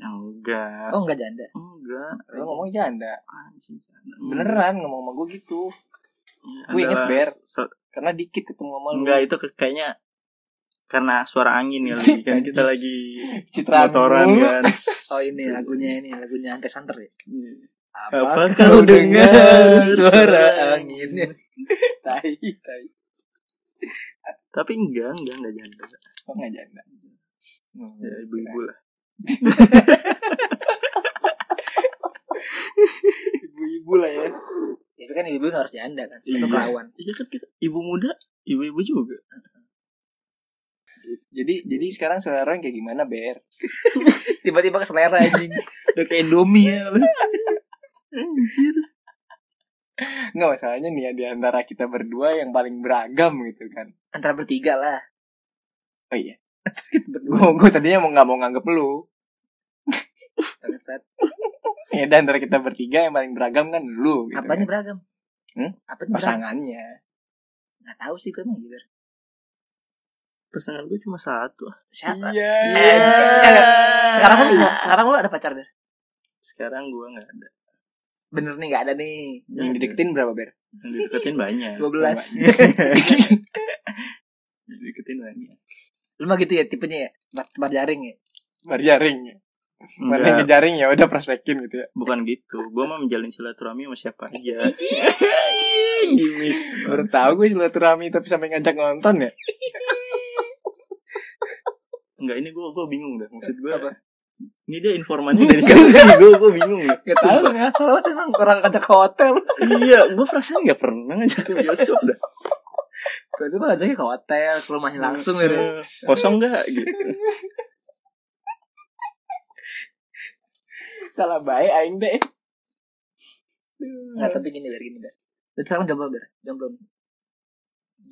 yang enggak oh nggak janda enggak Lu ngomong janda. anjing janda. Beneran ngomong sama gue gitu. Iya, Gua inget, Hmm, adalah Ber. se- Karena dikit ketemu sama lu. enggak itu ke- kayaknya karena suara angin ya lagi kan kita lagi Citraan motoran mulu. kan Iya. oh ini lagunya ini lagunya santai santer ya Iya. Oh, Apa kau dengar suara Iya. anginnya? tai tai Tapi enggak, enggak, enggak janda. kok nggak janda Ya ibu-ibu lah. ibu-ibu lah ya. Ya, Tapi kan ibu-ibu nggak harus janda kan. Itu Iya. perawan. Iya kan kita ibu muda, ibu-ibu juga. jadi jadi sekarang selera orang kayak gimana ber Tiba-tiba ke selera anjing. Udah kayak Indomie ya. lu. Anjir. nggak masalahnya nih ya, di antara kita berdua yang paling beragam gitu kan Antara bertiga lah. oh iya gue gue tadinya mau nggak mau nganggep lu Bangsat. ya dan antara kita bertiga yang paling beragam kan lu gitu Apanya kan. beragam? Hmm? Apa beragam? pasangannya Nggak tahu sih gue emang gitu. Pasangan gue cuma satu. Siapa? iya Eh, eh, Sekarang lu nggak- sekarang lu ada pacar Ber? Sekarang gue nggak ada. Bener nih nggak ada nih. yang dideketin berapa ber Yang dideketin banyak. 12 Yang dideketin banyak. Lu mah gitu ya tipenya ya. Bar, bar jaring ya. berjaring mana yang Enggak, ngejaring ya udah prospekin gitu ya bukan gitu. Gue mau menjalin silaturahmi sama siapa aja. Gimik. baru tahu gue silaturahmi tapi sampai ngajak nonton ya Enggak, ini gue gue bingung dah. Maksud gue Apa? Ini dia informasi dari siapa? gue gue bingung. dah. Gak tau lu nggak salah banget emang orang kata ke hotel. iya, gue perasaan nggak pernah ngajak ke bioskop dah. Gue itu malah ajaknya ke hotel, ke rumahnya langsung Ber. Eh, Kosong nggak? Gitu. salah baik aing deh Nggak tapi gini Ber, gini Ber. Lu sekarang kan jomblo Ber, jomblo.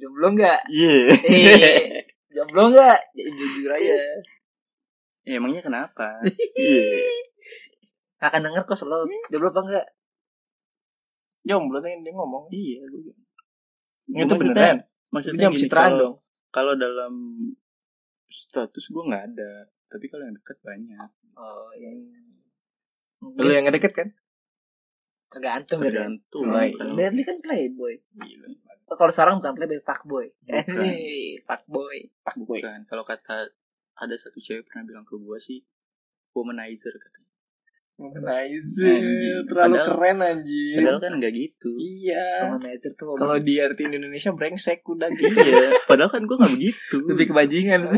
Jomblo nggak? Iya. Eh, jomblo nggak? Ya, jujur aja. Emangnya kenapa? Iya. Gak akan denger kok selalu Jomblo apa enggak? jomblo tuh yang dia ngomong Iya, gue. itu beneran Itu Maksudnya jam gini, citraan kalau- dong kalau dalam status gue nggak ada tapi kalau yang deket banyak Oh yang lu yang ngedeket kan tergantung dari tergantung Oh, iya. kalau- Berli kan playboy Gila, Kalau sekarang bukan playboy, fuckboy Eh, Bukan. fuckboy pak gue bukan Kan, kalau kata ada satu cewek pernah bilang ke gue sih womanizer katanya Anjir, terlalu Padahal- keren anjir. padahal kan nggak gitu Iya. Womanizer tuh Kalau diartiin Indonesia brengsek udah gitu. iya padahal kan gue nggak begitu Lebih kebajingan.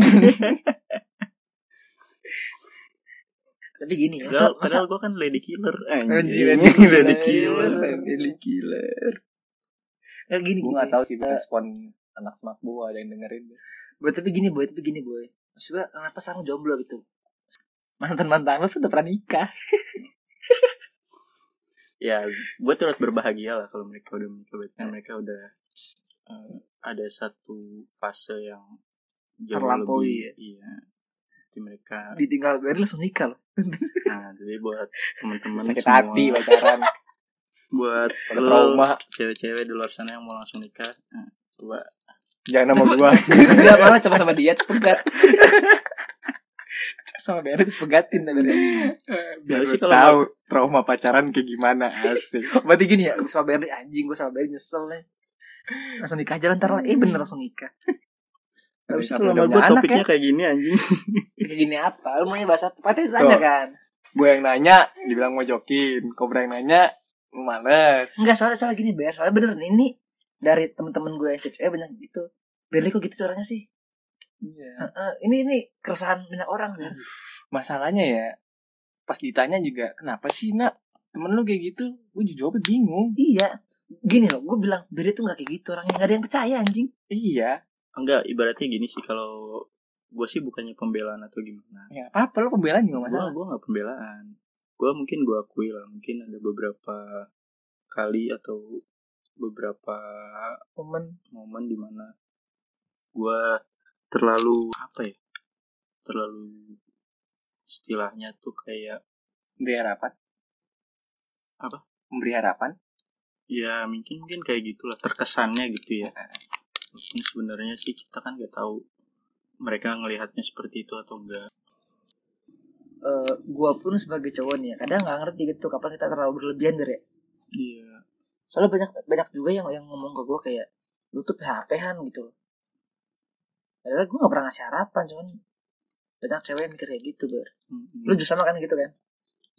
Tapi gini ya padahal, masa, padahal masa, gue kan lady killer Anjir, anjing. lady killer. lady killer Lady killer eh, gini Gue gini gak tau sih Eh, respon anak semak gue ada yang dengerin. Boy, tapi gini boy Tapi gini boy Maksud gue kenapa sekarang jomblo gitu Mantan-mantan lu sudah pernah nikah ya gue turut berbahagia lah kalau mereka udah menikah berarti Ya. kan mereka udah eh, ada satu fase yang jauh Terlampaui ya? lebih iya Jadi mereka Ditinggal Berli langsung nikah loh nah jadi buat teman-teman Sakit semua hati pacaran. buat Pada lo trauma. cewek-cewek di luar sana yang mau langsung nikah nah, coba Jangan sama gue. Enggak malah coba sama dia Terus pegat sama Berit pegatin. Biar Biar lu sih kalau- tau trauma pacaran kayak gimana. Asik. Berarti gini ya, gue sama Berli anjing, gue sama Berli nyesel nih. Langsung nikah aja lah, ntar lah. Eh bener langsung nikah. Habis itu Kenapa lu udah udah buat punya anak topiknya ya. kayak gini anjing Kayak gini apa? Lu maunya bahas apa? Patah tanya Tuh. kan? Gue yang nanya, dibilang mau jokin. Kobra yang nanya, lu males. Enggak, soalnya soalnya gini Ber, soalnya bener nih, ini dari temen-temen gue yang cewek banyak gitu. Berli kok gitu suaranya sih? Iya. Heeh, "Eh, ini ini keresahan banyak orang kan. masalahnya ya pas ditanya juga kenapa sih nak temen lu kayak gitu gue jawabnya bingung Iya. Gini loh, gue bilang Berli tuh gak kayak gitu orangnya, gak ada yang percaya anjing. iya enggak ibaratnya gini sih kalau gue sih bukannya pembelaan atau gimana ya apa apa lu pembelaan juga gue masalah gue nggak pembelaan gue mungkin gue akui lah mungkin ada beberapa kali atau beberapa Momen momen dimana gue terlalu apa ya terlalu istilahnya tuh kayak memberi harapan Apa? memberi harapan ya mungkin mungkin kayak gitulah terkesannya gitu ya Mungkin sebenarnya sih kita kan nggak tahu mereka ngelihatnya seperti itu atau enggak eh gue pun sebagai cowok nih ya, kadang gak ngerti gitu kapan kita terlalu berlebihan Ber ya. iya soalnya banyak banyak juga yang yang ngomong ke gue kayak lu tuh PHP han gitu loh padahal gue gak pernah ngasih harapan cuman banyak cewek yang mikir kayak gitu ber Mm-mm. lu juga sama kan gitu kan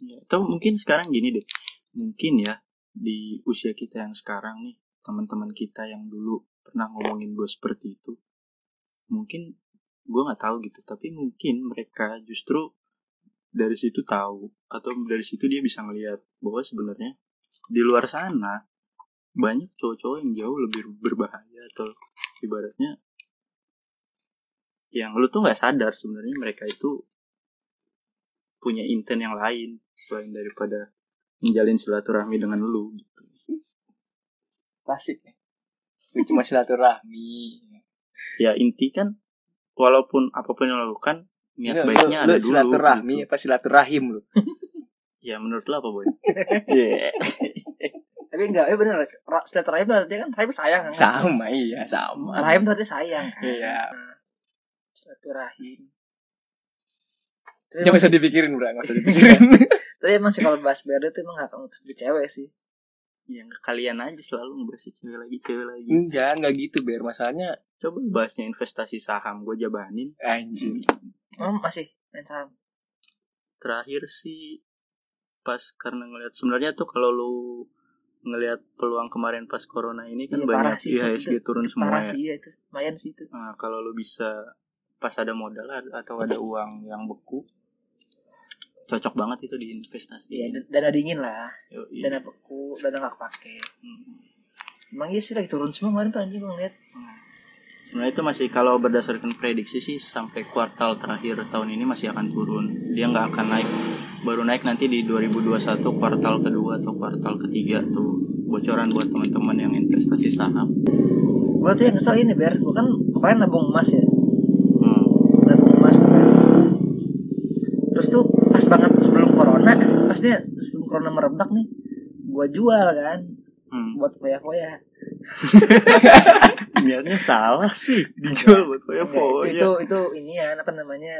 Iya. atau mungkin sekarang gini deh mungkin ya di usia kita yang sekarang nih teman-teman kita yang dulu pernah ngomongin gue seperti itu mungkin gue nggak tahu gitu tapi mungkin mereka justru dari situ tahu atau dari situ dia bisa ngelihat bahwa sebenarnya di luar sana banyak cowok-cowok yang jauh lebih berbahaya atau ibaratnya yang lu tuh nggak sadar sebenarnya mereka itu punya intent yang lain selain daripada menjalin silaturahmi dengan lu gitu. Klasik nih. Gue cuma silaturahmi. Ya inti kan walaupun apapun yang lo lakukan niat Lu- baiknya lu- ada lu dulu. Silaturahmi gitu. apa silaturahim lu? Ya menurut lo apa boy? Iya. Tapi enggak, eh bener ra- silaturahim tuh artinya kan rahim sayang kan. Sama iya, sama. Rahim tuh artinya sayang kan. Iya. Silaturahim. Tapi Jangan emang, Ya, usah dipikirin, Bro. Enggak usah dipikirin. tapi emang sih kalau bahas BRD tuh emang gak akan lepas dari cewek sih. yang Ya, kalian aja selalu ngebahas cewek lagi cewek lagi. Hmm. Enggak, enggak gitu, biar masalahnya Coba bahasnya investasi saham gue jabanin. anjir. Hmm, Emang masih main saham. Terakhir sih pas karena ngelihat sebenarnya tuh kalau lu ngelihat peluang kemarin pas corona ini kan Iya, parah banyak sih itu. IHSG turun semua Parah ya. sih iya itu. Lumayan sih itu. Nah, kalau lu bisa pas ada modal ad- atau ada uang yang beku cocok banget itu di investasi. Iya, dan- dana dingin lah. Yoi. Dana beku, dana gak kepake. Hmm. Emang iya sih lagi turun semua kemarin tuh anjing gue ngeliat. Sebenarnya itu masih kalau berdasarkan prediksi sih sampai kuartal terakhir tahun ini masih akan turun. Dia nggak akan naik. Baru naik nanti di 2021 kuartal kedua atau kuartal ketiga tuh bocoran buat teman-teman yang investasi saham. Gue tuh yang kesel ini Ber. Gue kan kemarin nabung emas ya. Hmm. nabung emas tuh kan. Terus tuh pas banget sebelum corona. Pastinya sebelum corona merebak nih. Gue jual kan. Hmm. Buat foya-foya. Niatnya salah sih dijual buat foya Enggak, itu, itu, itu ini ya apa namanya.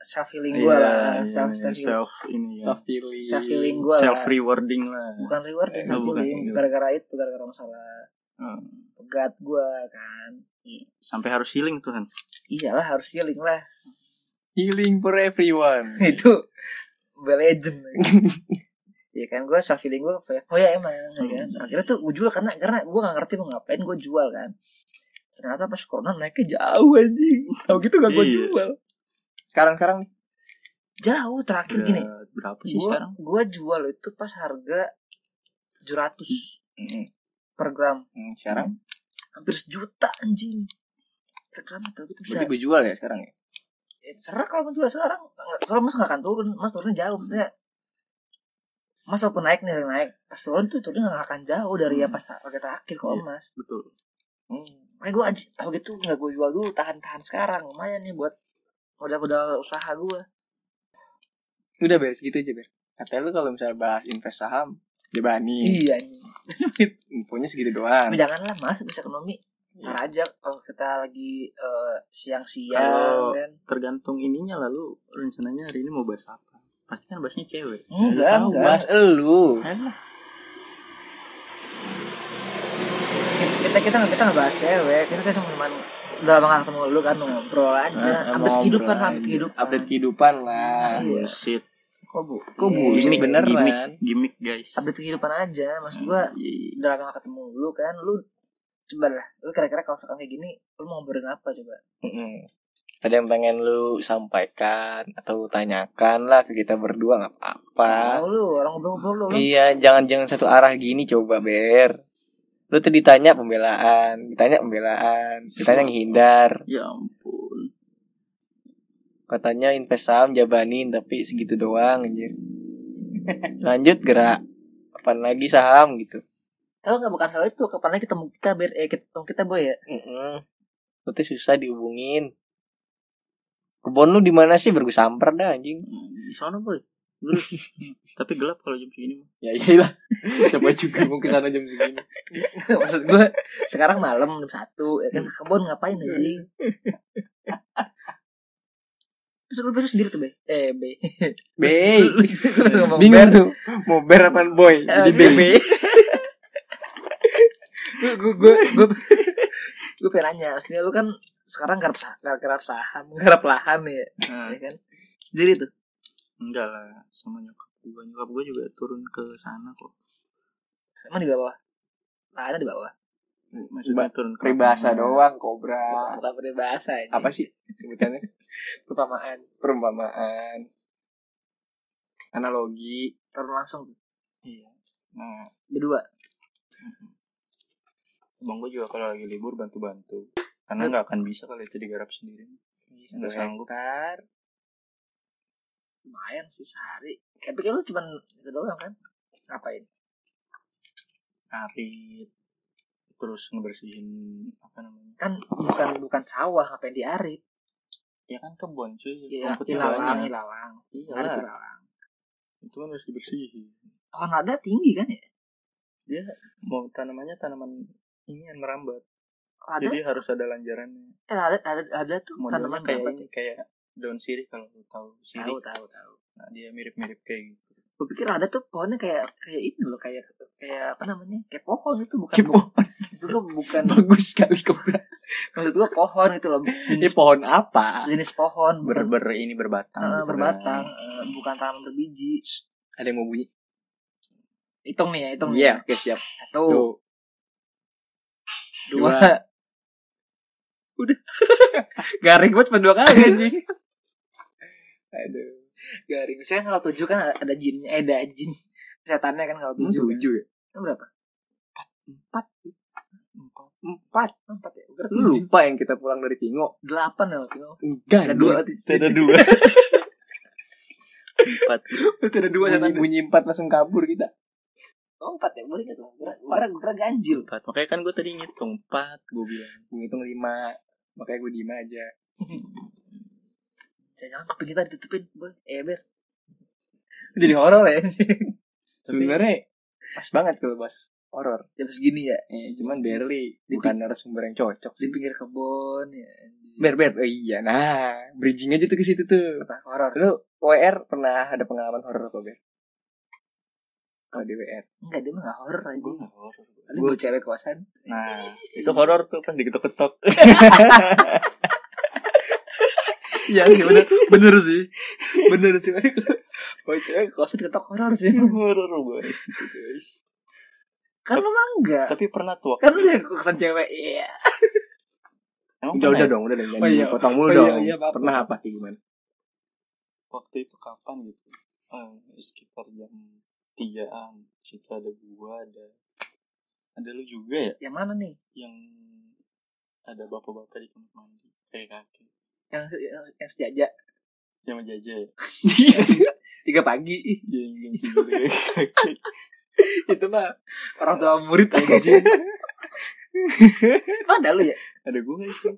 Self healing gue lah. Self, self, self, Iya, self ini ya. Soft feeling. healing gue lah. Self rewarding lah. Bukan reward ya, Eh, self bukan. healing. Gara-gara itu, gara-gara masalah Hmm. pegat gue kan. Iya. Sampai harus healing tuh kan. Iyalah harus healing lah. Healing for everyone. Iya. itu Mobile Legend ya kan gue self feeling gue oh ya emang ya kan Hmm. akhirnya tuh gue jual karena karena gue gak ngerti mau ngapain gue jual kan ternyata pas corona naiknya Jauh anjing. Tahu gitu gak gue Iya. jual. Sekarang-sekarang nih. jauh terakhir Udah gini Berapa sih gue Iya. sekarang? gue jual itu pas harga 700 per gram Hmm, sekarang hampir sejuta anjing per gram atau gitu bisa berarti gue jual ya sekarang ya. Eh, serah kalau menjual sekarang Nggak- soalnya mas gak akan turun mas turunnya jauh maksudnya mas walaupun naik nih naik pas turun tuh turunnya gak akan jauh dari ya pas harga terakhir kalau Hmm. Iya. mas Betul. Makanya gue anjir, tau gitu nggak gue jual dulu, tahan-tahan sekarang. Lumayan nih buat modal-modal usaha gue. Udah beres gitu aja, Ber. Katanya lu kalau misalnya bahas invest saham, Hmm. dibani. Iya nih. Kan. Infonya segitu Tapi doang. janganlah mas, bisa ekonomi. Iya. Ntar aja kalau kita lagi eh, siang-siang Kalau- kan. tergantung ininya lalu rencananya hari ini mau bahas apa pasti kan bahasnya cewek Enggak, Tahu, enggak. Bahas elu. Elah, Kita kita nggak kita nggak bahas cewek, kita kan cuma udah lama nggak ketemu lu kan ngobrol aja, update Nah, ngobrol kehidupan lah, aja. update kehidupan. Update kehidupan lah. Iya. bullshit Kok bu? Kok Iya. bullshit Gimik, beneran? gimmick gimmick guys Update kehidupan aja, maksud Hmm. gue Iya. udah lama nggak ketemu lu kan, lu coba lah, lu kira-kira kalau misalkan kayak gini, lu mau ngobrolin apa coba? Mm-mm. Ada yang pengen lu sampaikan atau tanyakan lah ke kita berdua nggak apa-apa. Tahu lu orang ngobrol-ngobrol lu. orang Ah. Iya, jangan jangan satu arah gini coba Ber. Lu tuh ditanya pembelaan, ditanya pembelaan, ditanya ngehindar. ya ampun Katanya invest saham jabanin tapi segitu doang anjir. Lanjut gerak. Apaan lagi saham gitu. Tahu nggak bukan soal itu kapan lagi ketemu kita ber eh ketemu kita boy ya? Mm-mm. Lu tuh susah dihubungin. Kebon lu di mana sih? Baru gue samper dah anjing. Hmm, di sana boy Terus. tapi gelap kalau jam segini mah. Ya iyalah. coba juga mau ke sana jam segini. Maksud gue sekarang malam jam satu ya kan ke kebun ngapain Iya. aja? Terus lu baru sendiri tuh be eh be Bey, Lu ngomong bingung ber- tuh. Mau ber apaan boy? eh, Jadi bey. gue gue gue gue gue pengen nanya maksudnya lu kan sekarang garap sah- garap, garap saham garap lahan ya, Nah, ya kan sendiri tuh enggak lah sama nyokap Juga nyokap gue juga turun ke sana kok. Emang di bawah? Nah, ada di bawah. Maksudnya turun ke Peribahasa lapangan. doang, Ah. kobra. Apa peribahasa ini? Apa sih sebutannya? Perumpamaan. Perumpamaan. Analogi. Turun langsung. Iya. Nah, Berdua. abang gue juga kalau lagi libur bantu-bantu. Karena nggak akan bisa kalau itu digarap sendiri. ya. Satu Nggak sanggup. hektar. Lumayan sih sehari. Tapi kan lu cuma itu doang kan? Ngapain? Arit. Terus ngebersihin apa namanya? Kan bukan bukan sawah, ngapain di arit? Ya kan kebun cuy. Iya, rumputnya ilalang, banyak. ilalang. Iya Arit lah. ilalang. Itu kan harus dibersihin. Pohon lada tinggi kan ya? Mau tanamannya tanaman ini yang merambat. Lada, Jadi harus ada lanjarannya. eh, lada, lada, lada tuh Modelnya tanaman kayak apa ini, tuh? kayak daun sirih kalau lu tahu sirih. Tahu, tahu, tahu. Nah, dia mirip-mirip kayak gitu. Gue pikir lada tuh pohonnya kayak kayak ini loh, kayak kayak apa namanya? Kayak pohon itu bukan. Kipo. Maksud gue bukan. Bagus sekali kobra. Maksud gue pohon itu loh. Ini Jenis, pohon apa? jenis pohon. Ber, Bukan, ber ini berbatang. eh, gitu berbatang. kan. eh, bukan tanaman berbiji. Ada yang mau bunyi? Hitung nih ya, hitung nih. Iya, oke siap. Satu, Tuh, dua, dua. Udah. Garing banget pada dua kali anjing. Aduh. garing. Misalnya kalau tujuh kan ada- ada jinnya, eh ada jin. Setannya kan kalau Emang tujuh. kan. tujuh ya? Itu berapa? Empat. Empat. Empat ya. Gua kira Lu tujuh. lupa yang kita pulang dari Tingo? Delapan ya waktu itu. Enggak, Ada dua. Ada dua. Empat. Ada dua bunyi, bunyi empat langsung kabur kita. Oh empat ya, boleh gitu. Gue kira gue kira ganjil. Empat. Makanya kan gue tadi ngitung empat. Gue bilang. Gue hitung lima. Makanya gue diem aja. Hmm. Jangan kuping kita ditutupin, boleh. Eh ber. Jadi horor ya. Tapi- Sebenarnya pas banget kalau bahas horor. Jam segini ya, Eh, cuman barely bukan narasumber yang cocok di sih. pinggir kebun ya. Ber, ber. Oh, iya, nah, bridging aja tuh ke situ tuh. Apa horor? Lu WR pernah ada pengalaman horor apa, Ber? Kalau di WR. Enggak, dia mah nggak horor aja. Gue nggak horor. Ada dua cewek kosan. Nah, itu horor tuh pas diketok-ketok. Iya sih bener, bener sih Bener sih Oh iya. cewek kosan ketok horor sih. horor Eh. guys. itu, guys. Kan lu mah enggak. Tapi pernah tuh waktu. Kan lu yang kosan cewek. Iya. Emang Udah pernah udah ya? dong udah dong Oh, iya. Jangan potong mulu Oh, iya, dong iya, apa-apa. Pernah apa kayak gimana Waktu itu kapan gitu? Eh, sekitar jam tigaan. Situ ada gua, ada ada lu juga ya Yang mana nih? yang ada bapak-bapak di kamar mandi kayak kakek Yang yang, yang sejaja. yang menjajah ya Iya. Tiga pagi Ih, yang yang tidur ya. kakek Itu mah Orang tua murid aja. Emang ada lu ya? ada gua nggak itu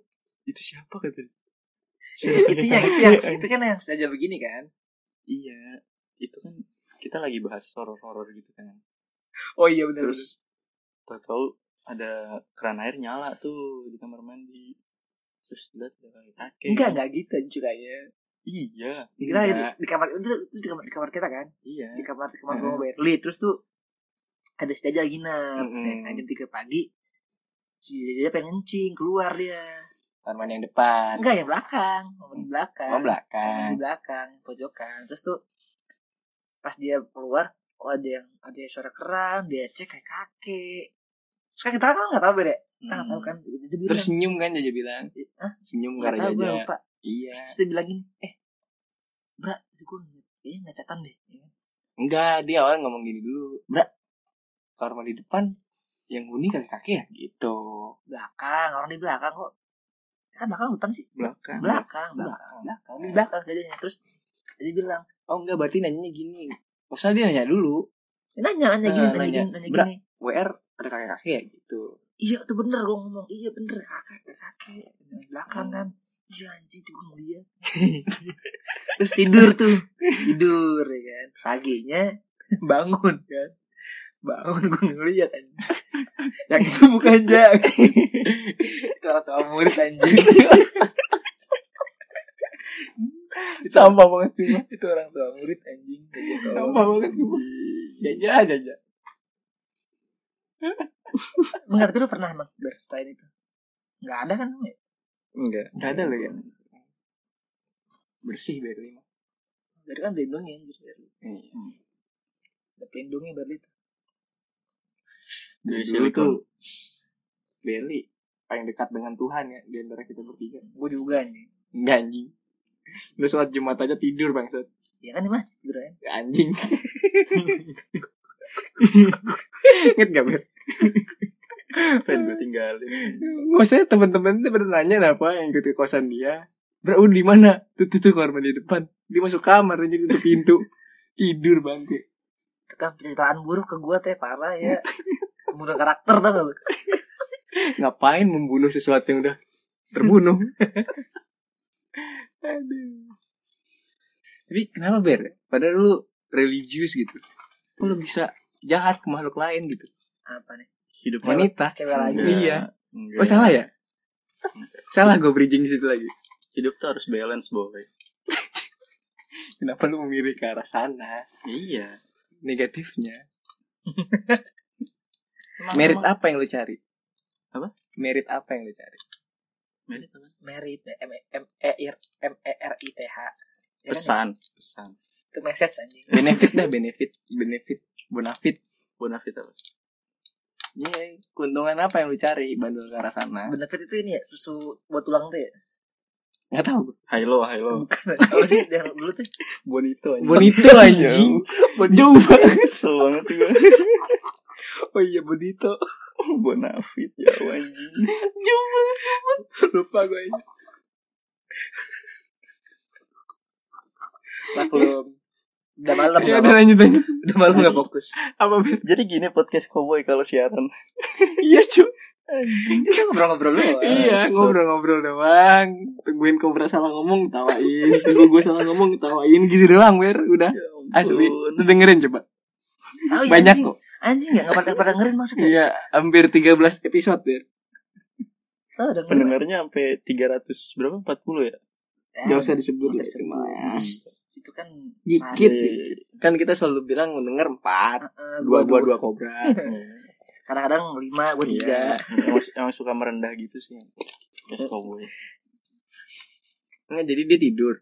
itu siapa kata dia? Siapa itu ya? yang itu yang itu kan yang sengaja begini kan iya itu kan kita lagi bahas horor-horor gitu kan Oh iya bener terus tahu-tahu ada keran air nyala tuh di kamar mandi terus lihat ada kakek enggak enggak gitu ceritanya iya Dikira di, Enggak. di kamar itu, itu di kamar, di kamar kita kan iya di kamar di kamar Hmm. gua Berli terus tuh ada si Jaja nginep Mm-mm. Ya kan, jam tiga pagi si Jaja pengen kencing keluar dia Taman yang depan enggak yang belakang momen di belakang Mau di belakang belakang pojokan terus tuh pas dia keluar kok ada yang ada yang suara keran dia cek kayak kakek terus kan kita kan nggak tahu beda kita nggak tahu Hmm, kan Dia bilang, Terus senyum kan Jaja bilang ah Senyum nggak gara tahu gue Jaja lupa Iya Terus dia bilang gini, eh, bra, gue kayaknya nggak catatan deh. Enggak dia awal ngomong gini dulu Bra Kamar mandi depan Yang bunyi kakek-kakek ya gitu Belakang, orang di belakang kok. Kan belakang depan sih. belakang Belakang, belakang, Iya. belakang. Di belakang jadinya. Terus dia bilang, Oh enggak berarti nanyanya gini Maksudnya dia nanya dulu nanya, nanya gini, Eh, nanya, nanya, gini, nanya "Bra." gini. WR ada kakek-kakek ya gitu Iya, tuh bener gue ngomong. Iya bener, kakak, kakek. Di Belakang kan. Iya anjing tuh gue ngeliat. Terus tidur tuh. Tidur ya kan. Paginya bangun kan. Bangun gue ngeliat anjing. Yang itu bukan Jack Kalau tua murid anjing. Sama banget cuma Itu orang tua murid anjing. Jajan Sama banget cuma Jaja jaja Enggak, tapi lu pernah emang ber selain itu? Enggak ada kan? Bang, ya? enggak Gak ada lo ya Bersih Berlin Dari kan dilindungi anjir. Iya pelindungi berarti Dari Dari dulu silikon. tuh Belly paling dekat dengan Tuhan ya di antara kita bertiga. gue juga nih Enggak anjing. Lu sholat Jumat aja tidur bangsat. ya kan di masjid kan Ya, Anjing. Ingat gak Ber? Pengen gue tinggalin Maksudnya temen-temen tuh pernah nanya apa yang ikut ke kosan dia. Bro, di mana? Tuh tuh tuh korban di depan. Dia masuk kamar jadi tutup pintu. Tidur bangke. itu kan penceritaan buruk ke gue teh parah ya pembunuh karakter tau gak lu Ngapain membunuh sesuatu yang udah terbunuh? Aduh. Tapi kenapa Ber? Padahal lu religius gitu. Kok lu bisa jahat ke makhluk lain gitu? apa nih hidup Wanita. cewek lagi Enggak. Iya. Oh salah ya? Salah gue bridging di situ lagi. Hidup tuh harus balance boy. Kenapa lu memilih ke arah sana? Iya. Negatifnya. Emang- Merit emang- apa yang lu cari? Apa? Merit apa yang lu cari? merit apa? merit m m e r m e r i t h Ya kan ya? Pesan, pesan. itu message anjing Benefit dah, benefit, benefit, bonafit. Bonafit apa? Iya, keuntungan apa yang lu cari bandul ke arah sana? benefit itu ini ya susu buat tulang tuh ya Enggak tahu. Halo, halo. bukan apa sih yang dulu tuh Bonito aja. Bonito anjing. Jauh banget. Kesel banget gue. Oh iya, bonito. Oh, Bonafit ya anjing. Jauh banget. Lupa gue anjing. maklum udah malam udah Ya, udah malam lanjut lanjut. udah malam nggak fokus Apa Ber? Jadi gini podcast cowboy kalau siaran. Iya, cuy. kita ngobrol-ngobrol doang Iya Bangsat. ngobrol-ngobrol doang Tungguin kobra salah ngomong tawain Tunggu gue salah ngomong tawain Gitu doang ber Udah Asli Lu dengerin coba Oh, iya, Banyak anjing. kok anjing nggak nggak pernah pernah dengerin maksudnya Iya Hampir 13 episode ber Tahu dengerin. Pendengarnya sampai 300 berapa? 40 ya? Eh, Gak usah disebut nggak usah ya, disebut. Mas. Shh, itu kan Dikit. rahasia. Iya, iya, Kan kita selalu bilang mendengar 4 Eh, gua Dua dua dua kobra iya. kadang-kadang lima gue tiga Iya. Yang, yang suka merendah gitu sih. Podcast cowboy. Nggak, jadi dia tidur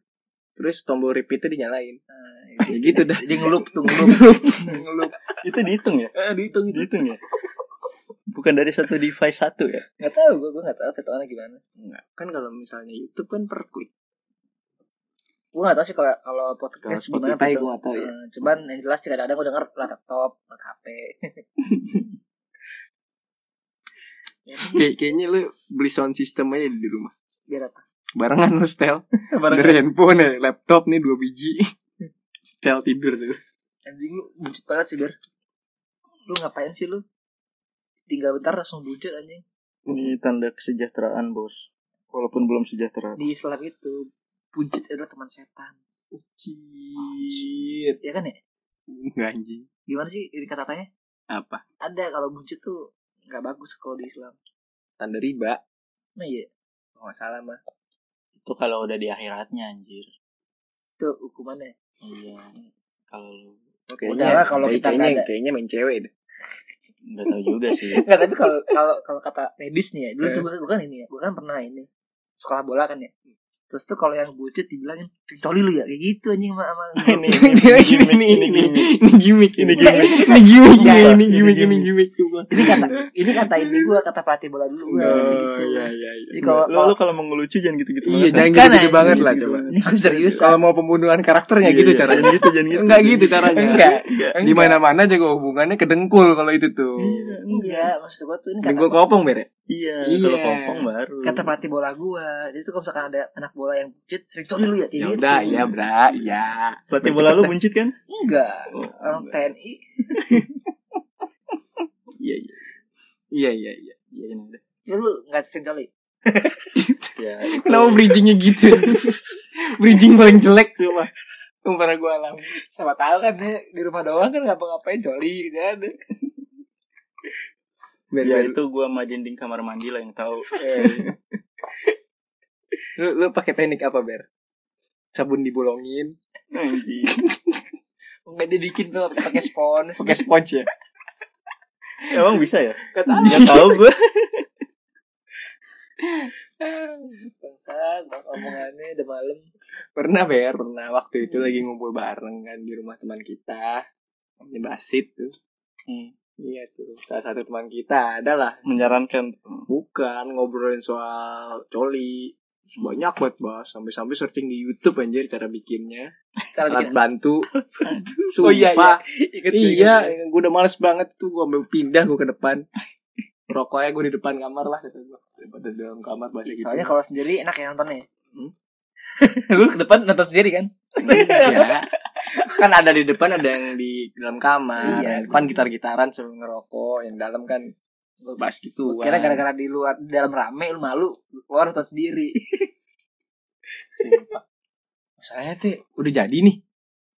Terus tombol repeat itu dinyalain Eh, Ya gitu dah jadi ngelup tuh ngelup ngelup Itu dihitung ya? Eh, dihitung itu Dihitung ya? Bukan dari satu device satu ya? nggak tahu gue gue nggak tahu hitungannya gimana Kan kalau misalnya Youtube kan per klik gue nggak tahu sih kalau kalau Kalau podcast gimana Spotify gitu. gue gak tau ya Eh, cuman yang jelas sih kadang-kadang gue denger lewat laptop lewat HP Kayak- Kayaknya lu beli sound system aja di rumah biar apa barengan lu setel dari handphone ya, laptop nih dua biji setel tidur tuh anjing lu buncit banget sih biar lu ngapain sih lu tinggal bentar langsung buncit anjing Ini tanda kesejahteraan bos. Walaupun belum sejahtera. di Islam itu buncit adalah teman setan Cit. ya kan ya Nggak anjing gimana sih ini kata-katanya apa ada kalau buncit tuh nggak bagus kalau di Islam tanda riba nah iya kalau nggak salah mah Itu kalau udah di akhiratnya anjir. itu hukumannya Iya. Kalau lu Udah lah, kalau kita nggak Iya, kayaknya ada. kayaknya main cewek deh nggak tahu juga sih. Enggak, tapi kalau kalau kalau kata medis nih ya, dulu tuh Eh. gua gua kan ini ya, gua kan pernah ini sekolah bola kan ya. Terus tuh kalau yang bucet dibilangin coli lu ya kayak gitu anjing sama sama ini, ini ini ini ini gimmick ini Ini gimmick gimmick. ini gimmick Sumpah, ini ini gimmick ini gimmick. gimmick sumpah ini kata ini kata ini gua kata pelatih bola dulu gua kayak oh gitu. ya ya ya Jadi kalau Lu, lu kalau Iya, kalau mau ngelucu jangan gitu-gitu iya banget. jangan Kan, gitu anjing. banget lah Gitu coba banget. ini gua serius kalau mau pembunuhan karakternya Iya, gitu iya, caranya Jangan gitu, jangan gitu. enggak gitu caranya Enggak. Enggak. di mana mana juga hubungannya ke dengkul kalau itu tuh Iya, enggak. enggak maksud gua tuh ini kata dengkul kopong bere Iya, Iya. kalau kompong baru. kata pelatih bola gua. Jadi tuh kalau misalkan ada anak bola yang bucet sering coli lu ya kayak Ya gitu. udah, ya bra, ya. Pelatih bola lu buncit kan? Enggak. Oh, Orang enggak. TNI Iya, iya. Iya iya iya. Iya, ini udah. ya lu enggak sering coli. Ya, itu. Kenapa bridgingnya gitu? Bridging paling jelek tuh mah. Yang pernah gue alami. Sama tahu kan dia di rumah doang kan ngapa-ngapain coli gitu kan. Iya, Ya, itu gua sama dinding kamar mandi lah yang tahu. Lu, lu pakai teknik apa ber? Sabun dibolongin, Anjing. Enggak dibikin tuh pakai spons. pakai sponge ya. Iya, Emang bisa ya? Enggak tahu. Yang tahu gua. Bangsat, bang omongannya udah malam. Hmm. Pernah ber, pernah waktu itu lagi ngumpul bareng kan di rumah teman kita. Namanya Basit tuh. Hmm. Iya tuh. Salah satu teman kita adalah menyarankan bukan ngobrolin soal coli. Terus Hmm. Banyak banget bahas sampai-sampai searching di YouTube anjir cara bikinnya. Kalau Alat bantu. Sumpah. Oh iya, iya. Ingat, iya, gue udah males banget tuh gue mau pindah gue ke depan. Rokoknya gue di depan kamar lah kata gue. Daripada di dalam kamar bahasa gitu. Soalnya kalau sendiri enak ya nontonnya. Hmm. lu ke depan nonton sendiri kan? Iya. kan ada di depan ada yang di dalam kamar. Iya. Yang depan gitar-gitaran sambil ngerokok, yang dalam kan bass gitu. Gua Kira gara-gara di luar di dalam rame lu malu keluar nonton sendiri. saya teh udah jadi nih.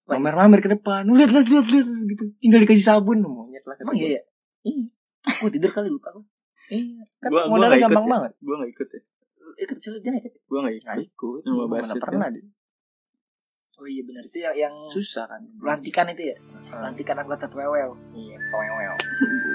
Mamer-mamer ke depan. Lihat, lihat, lihat, lihat gitu. Tinggal dikasih sabun monyet lah. kata Emang iya ya? Iya. Gua tidur kali lupa gua. Iya. Kan Gua- gua modalnya nggak ikut gampang ya. banget. gue nggak ikut ya Eh kecil dia. ya? gue nggak ikut ikut. Cuma Gua mana Basit, pernah deh. Oh iya benar itu yang, yang ya Susah kan. pelantikan itu ya. Pelantikan anggota TWW. Iya. Wewew.